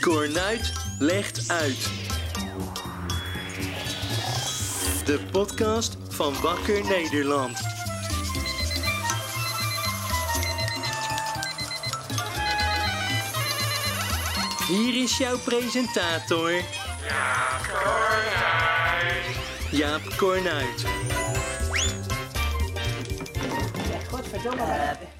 Cornuit legt uit. De podcast van Wakker Nederland. Hier is jouw presentator. Jaap Cornuit. Jaap Cornuit. Godverdomme, wat-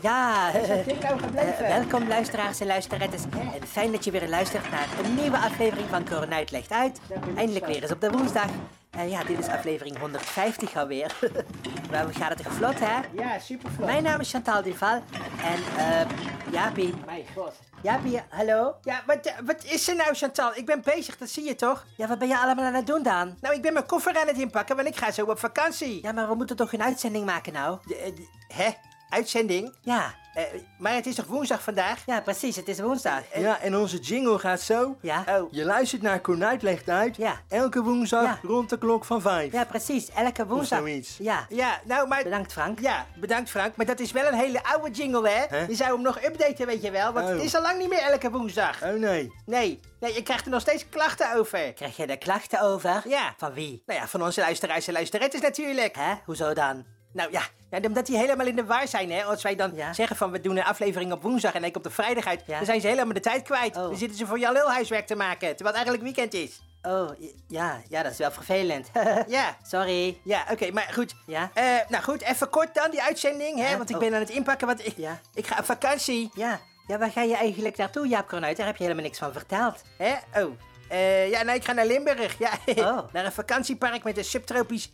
Ja, is dit nou gebleven? eh, welkom luisteraars en luisterettes. En fijn dat je weer luistert naar een nieuwe aflevering van Cornuit Legt Uit. Eindelijk weer eens op de woensdag. Eh, ja, dit is aflevering 150 alweer. maar we gaan het toch vlot, hè? ja, supervlot. eh. Mijn naam is Chantal Duval en eh Jaapie. Mijn god. Jaapie, hallo? Ja, wat, eh, wat is er nou, Chantal? Ik ben bezig, dat zie je toch? Ja, wat ben je allemaal aan het doen dan? Nou, ik ben mijn koffer aan het inpakken, want ik ga zo op vakantie. Ja, maar we moeten toch een uitzending maken nou? De- eh, de- hè? Uitzending? Ja, Eh, maar het is toch woensdag vandaag? ja precies, het is woensdag. Ja, en onze jingle gaat zo. Ja. Oh. Je luistert naar Cornuit legt uit. Ja. Elke woensdag Ja. rond de klok van vijf. Ja, precies, elke woensdag. zoiets. Ja, Ja, nou, maar... bedankt Frank. Ja, bedankt Frank, maar dat is wel een hele oude jingle, hè? Hè? Je zou hem nog updaten, weet je wel, want Oh. het is al lang niet meer elke woensdag. Oh nee. Nee, nee, je krijgt er nog steeds klachten over. Krijg je er klachten over? Ja. Van wie? Nou ja, van onze luisteraars en luisterettes natuurlijk. Hè? Hoezo dan? Nou ja, nou, omdat die helemaal in de war zijn, hè. Als wij dan Ja. zeggen van we doen een aflevering op woensdag en ik op de vrijdag uit, Ja. dan zijn ze helemaal de tijd kwijt. Oh. Dan zitten ze voor Jalil huiswerk te maken, terwijl het eigenlijk weekend is. Oh, j- ja, ja, dat is wel vervelend. Ja, Sorry. ja, oké, maar goed. Ja? Eh, nou goed, even kort dan die uitzending, hè, Ja, want ik oh. ben aan het inpakken, want ik, Ja. ik ga op vakantie. Ja, ja, waar ga je eigenlijk naartoe, Jaap Cornuit? Daar heb je helemaal niks van verteld. Hè? Oh. Eh, ja, nee, ik ga naar Limburg. Ja, Oh. naar een vakantiepark met een subtropisch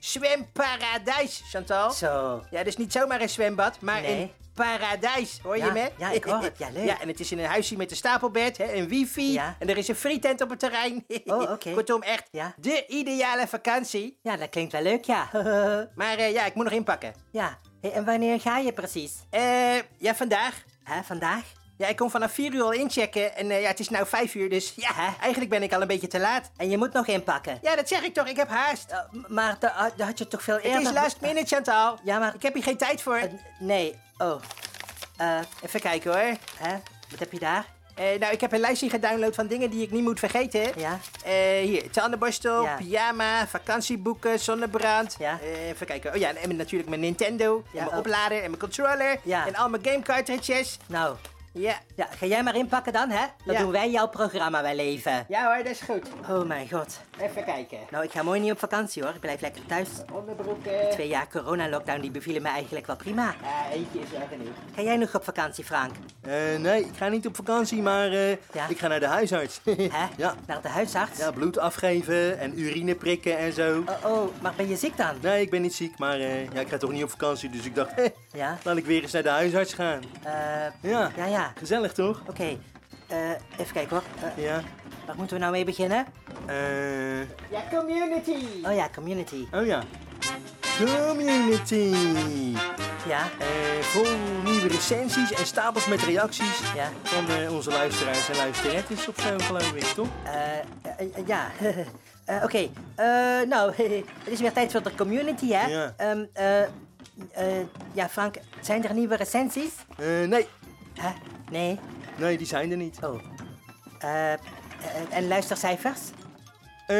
zwemparadijs, Chantal. Zo. Ja, dus niet zomaar een zwembad, maar Nee. een paradijs. Hoor je Ja, me? ja, ik hoor het. Ja, leuk. Ja, en het is in een huisje met een stapelbed, hè, een wifi. Ja. En er is een frietent op het terrein. Oh, oké. Kortom, echt Ja. de ideale vakantie. Ja, dat klinkt wel leuk, ja. Maar eh, ja, ik moet nog inpakken. ja, hey, en wanneer ga je precies? Eh, ja, vandaag. Hè, vandaag? Ja, ik kom vanaf 4 uur al inchecken. En eh, ja, het is nou 5 uur, dus ja, Hè? eigenlijk ben ik al een beetje te laat. En je moet nog inpakken. Ja, dat zeg ik toch, ik heb haast. Eh, m- maar da- ah, daar had je toch veel eerder... het is last minute, Chantal. Ja, maar- Ik heb hier geen tijd voor. Eh, n- nee, oh. Eh, Even kijken hoor. hè, wat heb je daar? Eh, nou, ik heb een lijstje gedownload van dingen die ik niet moet vergeten. Ja. Eh, hier, tandenborstel, Ja. pyjama, vakantieboeken, zonnebrand. Ja. Eh, even kijken. Oh ja, en natuurlijk mijn Nintendo. Ja, en mijn ook. oplader en mijn controller. Ja. En al mijn game cartridges. Nou, Ja. ja, ga jij maar inpakken dan, hè? Dan Ja. doen wij jouw programma wel even. Ja hoor, dat is goed. Oh mijn god. Even kijken. Nou, ik ga mooi niet op vakantie, hoor. Ik blijf lekker thuis. Onderbroeken. Twee jaar corona-lockdown die bevielen me eigenlijk wel prima. Ja, eentje is wel genoeg. Ga jij nog op vakantie, Frank? Eh, nee, ik ga niet op vakantie, maar eh, Ja? ik ga naar de huisarts. Hè? Ja. Naar de huisarts? Ja, bloed afgeven en urine prikken en zo. Oh, oh, maar ben je ziek dan? Nee, ik ben niet ziek, maar eh, ja, ik ga toch niet op vakantie, dus ik dacht, Ja? laat ik weer eens naar de huisarts gaan. Eh, Ja, ja, ja. gezellig toch? Oké. Eh, even kijken hoor. Eh, Ja. waar moeten we nou mee beginnen? Eh, Ja, community. Oh ja, community. oh ja. Community. Ja, Eh, vol nieuwe recensies en stapels met reacties ja. van eh, onze luisteraars en luisterettes of zo, geloof ik, toch? Eh, eh, eh, ja. Eh, Oké. Eh, nou, het is weer tijd voor de community, hè? Ja. Ehm, eh, eh, ja, Frank, zijn er nieuwe recensies? Eh, nee, Hè? Nee? nee, die zijn er niet. Oh. Eh, eh, en luistercijfers? Eh,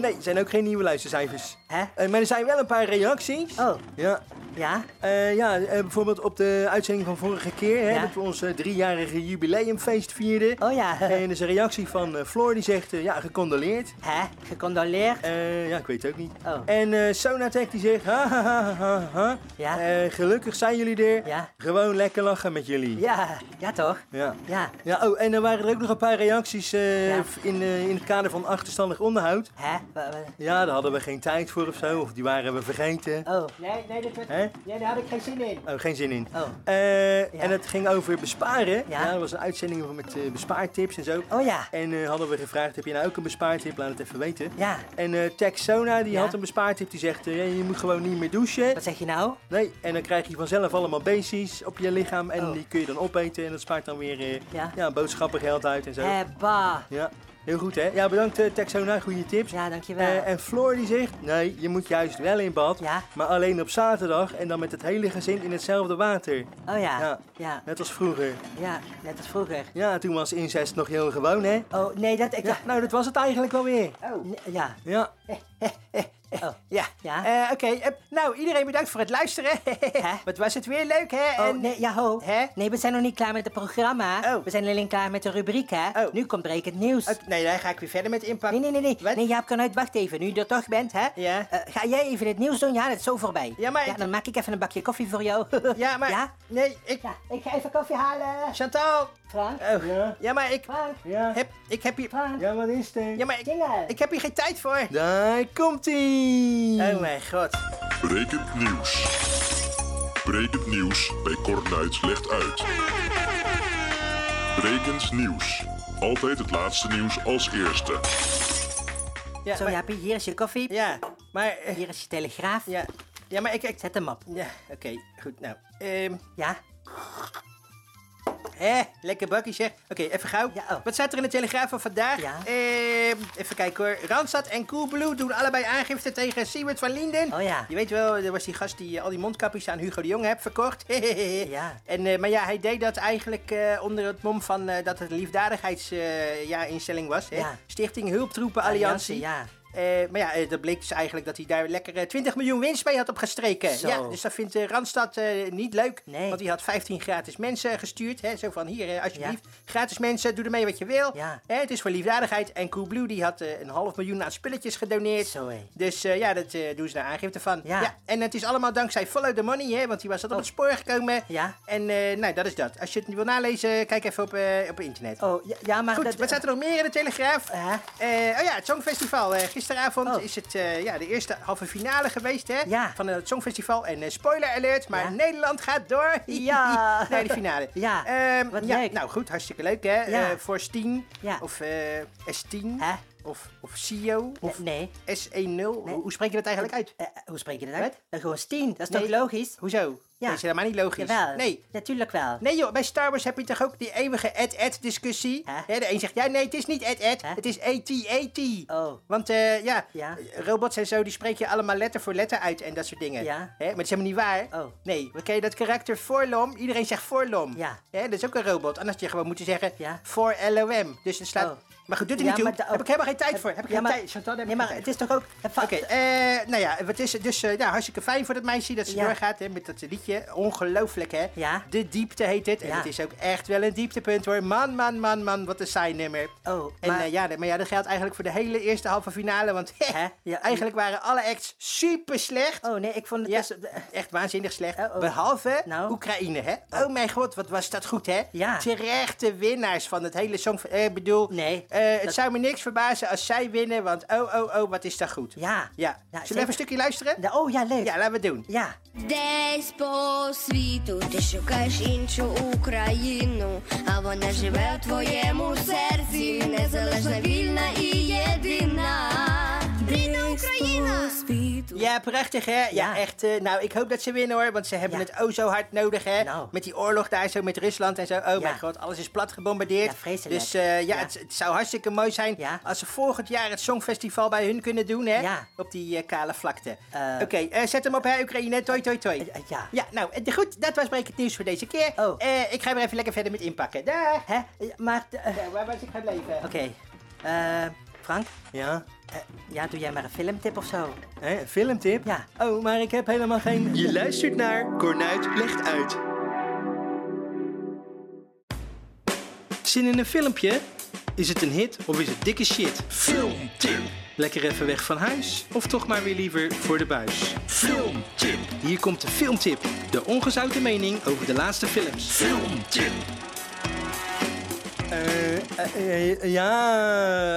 nee, er zijn ook geen nieuwe luistercijfers. Hè? Eh, maar er zijn wel een paar reacties. Oh, Ja, ja? Eh, ja eh, bijvoorbeeld op de uitzending van vorige keer, hè, Ja. dat we ons eh, driejarige jubileumfeest vierden. Oh ja. En er is een reactie van eh, Floor, die zegt, eh, ja, gecondoleerd. Hè? Gecondoleerd? Eh, ja, ik weet het ook niet. Oh. En eh Sonatech die zegt, ha ha ha ha ha. Ja. Eh, gelukkig zijn jullie er. Ja. Gewoon lekker lachen met jullie. Ja, ja toch? Ja. Ja. Ja, oh, en er waren er ook nog een paar reacties eh, Ja. v- in, eh, in het kader van achterstandig onderhoud. Hè? Wa- wa- Ja, daar hadden we geen tijd voor of zo, of die waren we vergeten. Oh, Nee, nee, dat werd... Hè? nee, daar had ik geen zin in. Oh, geen zin in. oh. Eh, En het ging over besparen. Ja. Ja. dat was een uitzending met eh, bespaartips en zo. Oh ja. En eh, hadden we gevraagd, heb je nou ook een bespaartip? Laat het even weten. Ja. En eh Texona, die Ja. had een bespaartip. Die zegt, eh, ja, je moet gewoon niet meer douchen. Wat zeg je nou? Nee, en dan krijg je vanzelf allemaal beestjes op je lichaam. En Oh. die kun je dan opeten. En dat spaart dan weer eh, ja. Ja. boodschappengeld uit en zo. Hè, bah. Ja. Heel goed, hè? Ja, bedankt, eh, Texona. Goede tips. Ja, dankjewel. Nou. Eh, en Floor die zegt, nee, je moet juist wel in bad, Ja. maar alleen op zaterdag en dan met het hele gezin in hetzelfde water. Oh ja. Ja. ja, ja, Net als vroeger. net als vroeger. Ja, toen was incest nog heel gewoon, hè? Oh, nee, dat ik Ja, nou, dat was het eigenlijk wel weer. Oh. dacht- Ja, Ja, oh. Ja. Ja? Eh, Oké, eh, nou, iedereen bedankt voor het luisteren. Hè? Wat was het weer leuk, hè? Oh, En- nee, ja, ho. Hè? Nee, we zijn nog niet klaar met het programma. Oh. We zijn alleen klaar met de rubriek, hè. Oh. Nu komt brekend nieuws. Oké, nee, dan ga ik weer verder met inpakken. Nee, nee, nee, nee. Wat? Nee, Jaap kan uit. Wacht even. Nu je er toch bent, hè? Ja. Eh, ga jij even het nieuws doen? Ja, dat is zo voorbij. Ja, maar Ja, ik- dan maak ik even een bakje koffie voor jou. Ja, maar... Ja? Nee, ik... Ja, ik ga even koffie halen. Chantal! Frank? Oh, Ja? ja? maar ik... Frank? ja. Heb, ik heb hier... Frank? Ja, wat is dit? Ja, maar ik, Dingen. ik heb hier geen tijd Oh voor. Daar komt-ie! Mm. Oh mijn god. Brekend nieuws. Brekend nieuws bij Kornuit legt uit. Brekend nieuws. Altijd het laatste nieuws als eerste. Ja, Zo, maar, Jaapie, hier is je koffie. ja, maar... eh, Hier is je telegraaf. ja, ja, maar ik... ik Zet hem op. ja, oké, goed, nou. Ehm Ja? hè, lekker bakkie zeg. Oké, even gauw. Ja, oh. Wat staat er in de Telegraaf van vandaag? Ja. Ehm, even kijken hoor. Randstad en Coolblue doen allebei aangifte tegen Siewert van Linden. Oh ja. Je weet wel, er was die gast die eh, al die mondkapjes aan Hugo de Jong heeft verkocht. Ja. En, eh, maar ja, hij deed dat eigenlijk eh, onder het mom van eh, dat het een liefdadigheidsinstelling ja, instelling was. Hè? Ja. Stichting Hulptroepen Alliantie. Ja. Eh, maar ja, eh, dat bleek dus eigenlijk dat hij daar lekker eh, 20 miljoen winst mee had opgestreken. Zo. Ja, dus dat vindt eh, Randstad eh, niet leuk. Nee. Want hij had 15 gratis mensen gestuurd. Hè, zo van, hier, eh, alsjeblieft. Ja. Gratis mensen, doe ermee wat je wil. Ja. Hè, het is voor liefdadigheid. En Coolblue die had eh, een half miljoen aan spulletjes gedoneerd. Zo, hé. Dus eh, ja, dat eh, doen ze daar aangifte van. Ja. En het is allemaal dankzij Follow the Money, hè, want die was dat op het spoor gekomen. Ja. En eh, nou, dat is dat. Als je het wil nalezen, kijk even op, eh, op internet. Oh, ja, ja, maar... Goed, dat- wat staat er nog meer in de Telegraaf? Eh? Eh, oh ja, het Songfestival. Eh, gisteravond Oh. is het eh, ja, de eerste halve finale geweest hè, Ja. van het Songfestival. En eh, spoiler alert, maar Ja. Nederland gaat door Ja. naar de finale. Ja, Ehm, wat ja, leuk. Nou goed, hartstikke leuk hè. Ja. Eh, voor Steen Ja. of eh, S10 Hè? of, of SIO of Nee. S10. Hoe hoe spreek je dat eigenlijk uit? Eh, hoe spreek je dat uit? Wat? Eh, Gewoon Steen, dat is Nee. toch logisch? Hoezo? Ja. Dat is helemaal niet logisch. Jawel. Nee. Natuurlijk wel. Nee joh, bij Star Wars heb je toch ook die eeuwige ad-ad discussie? Hè? Hè, De een zegt, ja nee, het is niet ad-ad, Hè? het is E AT-AT. Oh. Want eh, ja, Ja. robots en zo, die spreek je allemaal letter voor letter uit en dat soort dingen. Ja. Hè, Maar dat is helemaal niet waar. Oh. Nee, want ken je dat karakter Forlom? Iedereen zegt Forlom. Ja. Hè, Dat is ook een robot. Anders had je gewoon moeten zeggen Ja. voor LOM. Dus het slaat... Oh. Maar goed, doet er Ja, niet toe. maar da- Heb ik helemaal geen tijd voor. Heb ik Ja, geen maar- tijd. Chantal, daar heb Nee, ik maar geen tijd het is toch ook... Oké, eh, nou ja, wat is het? Dus eh, nou, hartstikke fijn voor dat meisje dat ze Ja. doorgaat hè, met dat liedje. Ongelooflijk, hè? Ja. De diepte heet het. En Ja. het is ook echt wel een dieptepunt, hoor. Man, man, man, man, wat een saai nummer. Oh, en, maar- eh, ja, nee, maar ja, dat geldt eigenlijk voor de hele eerste halve finale. Want Hè? Ja, eigenlijk waren alle acts super slecht. Oh nee, ik vond het Ja, dus... echt waanzinnig slecht. Oh, oh. Behalve Nou. Oekraïne, hè? Oh mijn god, wat was dat goed, hè? Ja. Terechte winnaars van het hele song... eh, Ik bedoel, Nee, eh, het dat- zou me niks verbazen als zij winnen, want oh, oh, oh, wat is dat goed. Ja. Ja. Zullen we even een stukje luisteren? Ja, Oh ja, leuk. Ja, laten we het doen. Ja. Десь по світу ти шукаєш іншу Україну, а вона живе в твоєму серці, незалежна, вільна і єдина. Вільна Україна! світу. Ja, prachtig hè? Ja, Ja. echt. eh, nou, ik hoop dat ze winnen hoor, want ze hebben Ja. het oh zo hard nodig hè. Nou. Met die oorlog daar zo met Rusland en zo. Oh mijn god, alles is plat gebombardeerd. Ja, vreselijk. Dus eh, ja, Ja. Het, het zou hartstikke mooi zijn Ja. als ze volgend jaar het Songfestival bij hun kunnen doen hè. Ja. Op die eh, kale vlakte. Eh. Oké, eh, zet hem op hè Oekraïne. Toi, toi, toi. Eh, eh, ja. Ja, nou eh, goed, dat was Brekend Nieuws voor deze keer. Oh. Eh, ik ga weer even lekker verder met inpakken. Daar. Hè? Ja, Maar... de- eh, Waar was ik gebleven? Oké. Eh, Frank? Ja, Ja, doe jij maar een filmtip of zo. hè, een filmtip? Ja. Oh, maar ik heb helemaal geen... Je luistert naar Cornuit legt uit. Zin in een filmpje? Is het een hit of is het dikke shit? Filmtip. Lekker even weg van huis of toch maar weer liever voor de buis? Filmtip. Hier komt de filmtip. De ongezouten mening over de laatste films. Filmtip. Eh, eh, eh, ja,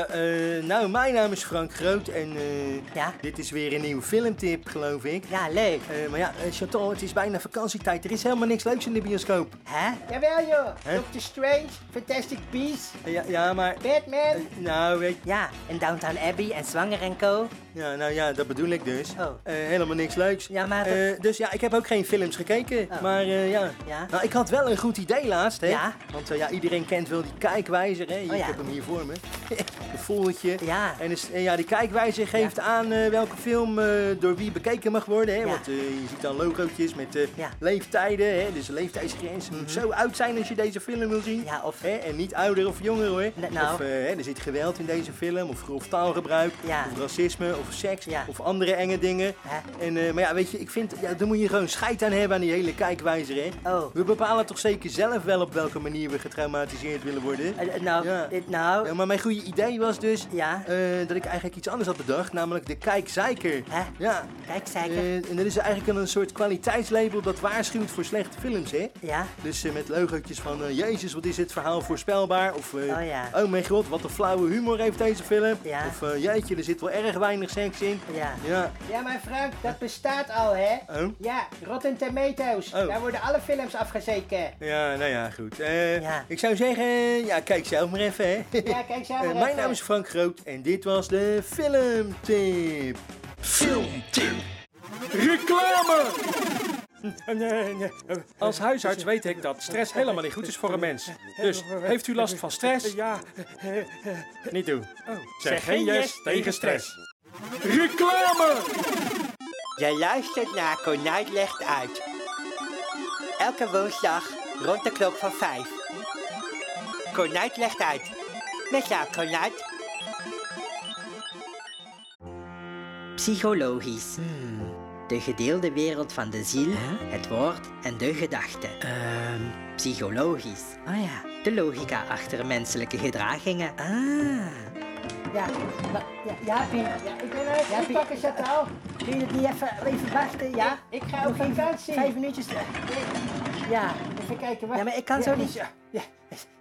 eh, nou, mijn naam is Frank Groot en eh, Ja? dit is weer een nieuwe filmtip, geloof ik. Ja, leuk. Eh, maar ja, eh, Chantal, het is bijna vakantietijd. Er is helemaal niks leuks in de bioscoop. Hè? Jawel joh. Hè? Doctor Strange, Fantastic Beasts, Eh, ja, ja, maar... Batman. eh, nou, weet Ja, en Downtown Abbey en Zwanger en Co. ja, nou ja, dat bedoel ik dus. Oh. Eh, helemaal niks leuks. Ja, maar dat- Eh, dus ja, ik heb ook geen films gekeken. Oh. Maar eh, ja. Ja? Nou, ik had wel een goed idee laatst, hè. Ja? Want eh, ja, iedereen kent wel die kijkwijze kijkwijzer, hè? Hier, Oh ja. Ik heb hem hier voor me. een folletje. Ja. Ah. En, is- en ja, die kijkwijzer geeft Ja. aan eh, welke film eh, door wie bekeken mag worden. Hè? Ja. Want eh, je ziet dan logootjes met eh, Ja. Mhm. leeftijden, hè? dus een leeftijdsgrens. Je moet zo oud zijn als je deze film wil zien. Ja, of- hè? En niet ouder of jonger hoor. Nee, nou. Of eh, hè, er zit geweld in deze film, of grof taalgebruik, Ja. of racisme, of seks, Ja. of andere enge dingen. Hè? En, eh, maar ja, weet je, ik vind, ja, daar moet je gewoon scheid aan hebben aan die hele kijkwijzer. Hè? Oh. We bepalen toch zeker zelf wel op welke manier we getraumatiseerd willen worden. Eh, eh, nou, Ja. dit nou, Ja, maar mijn goede idee was dus Ja. eh, dat ik eigenlijk iets anders had bedacht, namelijk de kijkzeiker. Hè? Ja. kijk, zeker. Eh, en dat is eigenlijk een soort kwaliteitslabel dat waarschuwt voor slechte films, hè? ja, Dus eh, met logootjes van, eh, jezus, wat is dit verhaal voorspelbaar? Of, eh, Oh ja. oh mijn god, wat een flauwe humor heeft deze film. Ja. Of, eh, jeetje, er zit wel erg weinig seks in. ja. Ja. Ja, maar Frank, dat bestaat al, hè? Oh. Ja, Rotten Tomatoes. Oh. Daar worden alle films afgezeken. Ja, nou ja, goed. Eh, Ja. Ik zou zeggen, ja, kijk zelf maar even, hè. Ja, kijk zelf Eh, maar mijn even. naam is Frank Groot en dit was de filmtip. Filmtip. Reclame! Als huisarts weet ik dat stress helemaal niet goed is voor een mens. Dus heeft u last van stress? Ja, Oh. niet doen. Zeg geen yes tegen stress. Je luistert naar Konijn Legt Uit. Elke woensdag rond de klok van vijf. Konijn Legt Uit. Met jou, Konijn. Psychologisch. Hmm. De gedeelde wereld van de ziel, het woord en de gedachte. Ehm. Psychologisch. Ah ja. De logica achter menselijke gedragingen. Ah. Ja, ja, ja, Ik ben uit Ja, het Piet. pakken, Chantal. Kun je het niet even, even wachten, ja? Ik ga op Nog even vakantie. Vijf minuutjes. Ja. Even kijken, waar... ja, maar ik kan zo niet...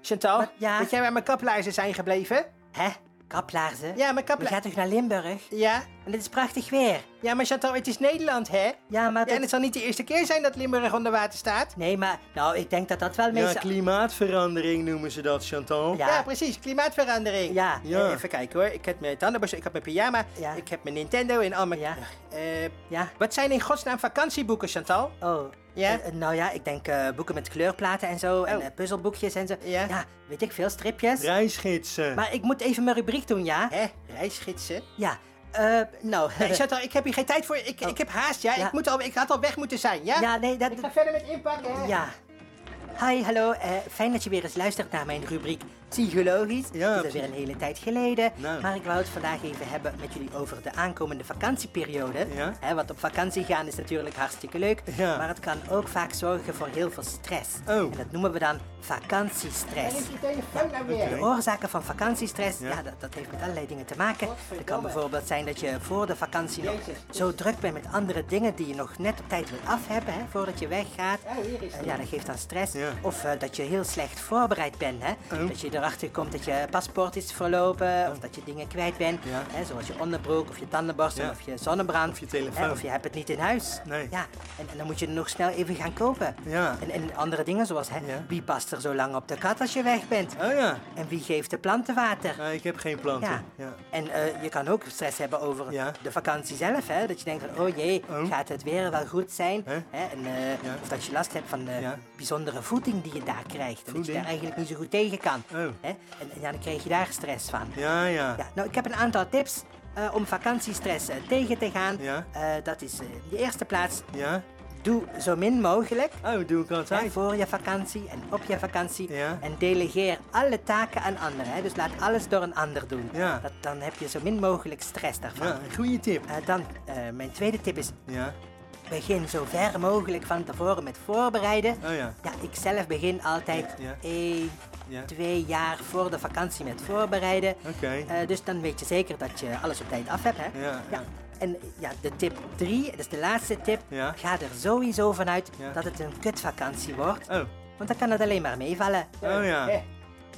Chantal, Wat? Ja? weet jij waar mijn kaplaarzen zijn gebleven? Hè? Kaplaarzen? Ja, mijn We kaplaarzen... gaan toch naar Limburg? Ja? En dit is prachtig weer. ja, maar Chantal, het is Nederland, hè? Ja, maar... Ja, en het zal niet de eerste keer zijn dat Limburg onder water staat. Nee, maar... Nou, ik denk dat dat wel Ja, meestal... klimaatverandering noemen ze dat, Chantal. Ja, Ja. precies. Klimaatverandering. Eh, Ja. Ja. Even kijken hoor. Ik heb mijn tandenborstel, ik heb mijn pyjama, Ja. ik heb mijn Nintendo en al mijn... Ja. Eh, Ja. wat zijn in godsnaam vakantieboeken, Chantal? Oh. Ja? eh, eh, nou ja, ik denk eh, boeken met kleurplaten en zo. En Oh. eh, puzzelboekjes en zo. Ja. weet ik veel, stripjes. Reisgidsen. Maar ik moet even mijn rubriek doen, ja? Hè? Reisgidsen? Ja. Eh, nou. Nee, Chantal, ik heb hier geen tijd voor. Ik, ik heb haast, ja. Oh. Ja. Ik, moet al, ik had al weg moeten zijn, ja? ja, nee, dat... Ik ga verder met inpakken. hè. Ja. Hi, hallo. eh, fijn dat je weer eens luistert naar mijn rubriek Psychologisch. Ja, dat is psych- alweer een hele tijd geleden. Nou. Maar ik wou het vandaag even hebben met jullie over de aankomende vakantieperiode. Ja. Hè, want op vakantie gaan is natuurlijk hartstikke leuk. Ja. Maar het kan ook vaak zorgen voor heel veel stress. Oh. En dat noemen we dan vakantiestress. Waar is die telefoon nou weer? De oorzaken van vakantiestress, ja. dat, dat heeft met allerlei dingen te maken. Het kan bijvoorbeeld zijn dat je voor de vakantie nog zo druk bent met andere dingen die je nog net op tijd wilt af hebben, hè, voordat je weggaat. Oh, hier is Eh, die. ja, dat geeft dan stress. Ja. Oh, Of eh, dat je heel slecht voorbereid bent. Hè? Dat je erachter komt dat je paspoort is verlopen, of dat je dingen kwijt bent. Ja. Hè, zoals je onderbroek, of je tandenborstel, Ja. of je zonnebrand. Of je telefoon. Hè, of je hebt het niet in huis. Nee. Ja, en, en dan moet je het nog snel even gaan kopen. Ja. En, en andere dingen zoals, hè, Ja. wie past er zo lang op de kat als je weg bent? Oh ja. En wie geeft de planten water? Ah, ik heb geen planten. Ja. En eh, je kan ook stress hebben over Ja. de vakantie zelf. Hè? Dat je denkt van, oh jee, Oh. gaat het weer wel goed zijn? Hè? Hè? En, eh, Ja. Of dat je last hebt van de Ja. bijzondere voeding die je daar krijgt. En dat je Voeding? daar eigenlijk niet zo goed tegen kan. Oh. Hè? En, en ja, dan krijg je daar stress van. Ja, ja. Ja, nou, ik heb een aantal tips eh, om vakantiestress eh, tegen te gaan. Ja. Eh, dat is eh, in de eerste plaats, Ja? doe zo min mogelijk. Oh, dat doe ik Hè, altijd. voor je vakantie en op je vakantie. Ja. En delegeer alle taken aan anderen. Hè. Dus laat alles door een ander doen. Ja. Dat, dan heb je zo min mogelijk stress daarvan. Ja, goede tip. Eh, dan, eh, mijn tweede tip is, Ja. begin zo ver mogelijk van tevoren met voorbereiden. Oh ja. Ja, ik zelf begin altijd Ja. één, Ja. twee jaar voor de vakantie met voorbereiden. Oké. Eh, dus dan weet je zeker dat je alles op tijd af hebt, hè? Ja, ja. En ja, de tip 3, dat is de laatste tip. Ja. Ga er sowieso vanuit Ja. dat het een kutvakantie wordt. Oh. Want dan kan het alleen maar meevallen. Oh ja. Hè.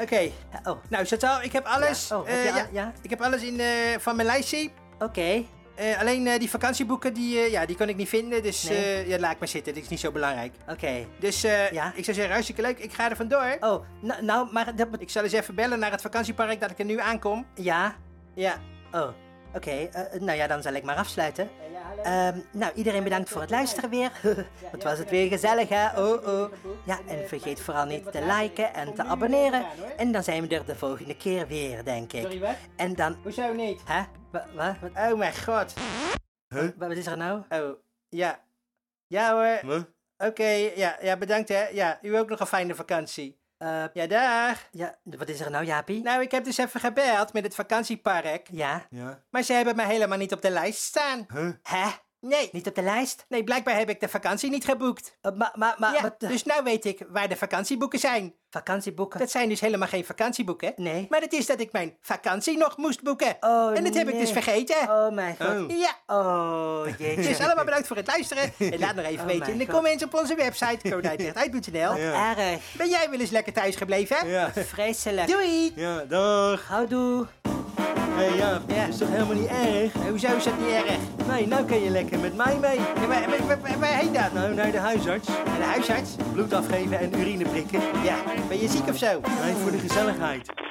Oké. Eh, Oh, Nou, Chantal, ik heb alles. Ja. Oh, heb eh, je al- ja? Ik heb alles in, eh, van mijn lijstje. oké. Eh, alleen eh, die vakantieboeken, die, eh, ja, die kon ik niet vinden. Dus Nee. eh, ja, laat ik maar zitten. Dit is niet zo belangrijk. Oké. Dus eh, Ja? ik zou zeggen, hartstikke leuk. Ik ga er vandoor. Oh, nou, nou, maar dat bet- Ik zal eens even bellen naar het vakantiepark dat ik er nu aankom. Ja? Ja. Oh, oké. Eh, nou ja, dan zal ik maar afsluiten. ja hallo. Ehm, nou, iedereen bedankt voor het luisteren weer. Wat was het weer gezellig, hè? Oh, oh. Ja, en vergeet vooral niet te liken en te abonneren. En dan zijn we er de volgende keer weer, denk ik. Sorry, wat? En dan... Hoezo niet? Hè? Wa- wa- Wat, Oh mijn god. wat is er nou? Oh, ja. Ja hoor. Huh? Oké, ja, ja, bedankt hè. Ja, u ook nog een fijne vakantie. Eh, Ja, dag. ja, wat is er nou, Jaapie? Nou, ik heb dus even gebeld met het vakantiepark. Ja? Ja. Maar ze hebben mij helemaal niet op de lijst staan. Huh? Hè? Nee, Niet op de lijst? nee, blijkbaar heb ik de vakantie niet geboekt. Eh, maar, maar, maar... ja, wat, eh, dus nou weet ik waar de vakantieboeken zijn. Vakantieboeken? Dat zijn dus helemaal geen vakantieboeken. Nee. Maar het is dat ik mijn vakantie nog moest boeken. Oh, en dat heb ik dus nee. vergeten. Oh, mijn god. Oh. Ja. Oh, jeetje. Dus allemaal bedankt voor het luisteren. En laat nog even Oh weten mijn in de God. comments op onze website konijnlichtuit.nl. Ja. Erg. Ben jij wel eens lekker thuis gebleven? Ja. Vreselijk. Doei! Ja, dag. Houdoe. Hé, ja, dat is toch helemaal niet erg? Hoezo is dat niet erg? Nee, nou kan je lekker met mij mee. Ja, maar, maar, maar- maar- waarheen dan? Nou, naar de huisarts. Naar de huisarts? Bloed afgeven en urine prikken. Ja, ben je ziek of zo? Nee, voor de gezelligheid.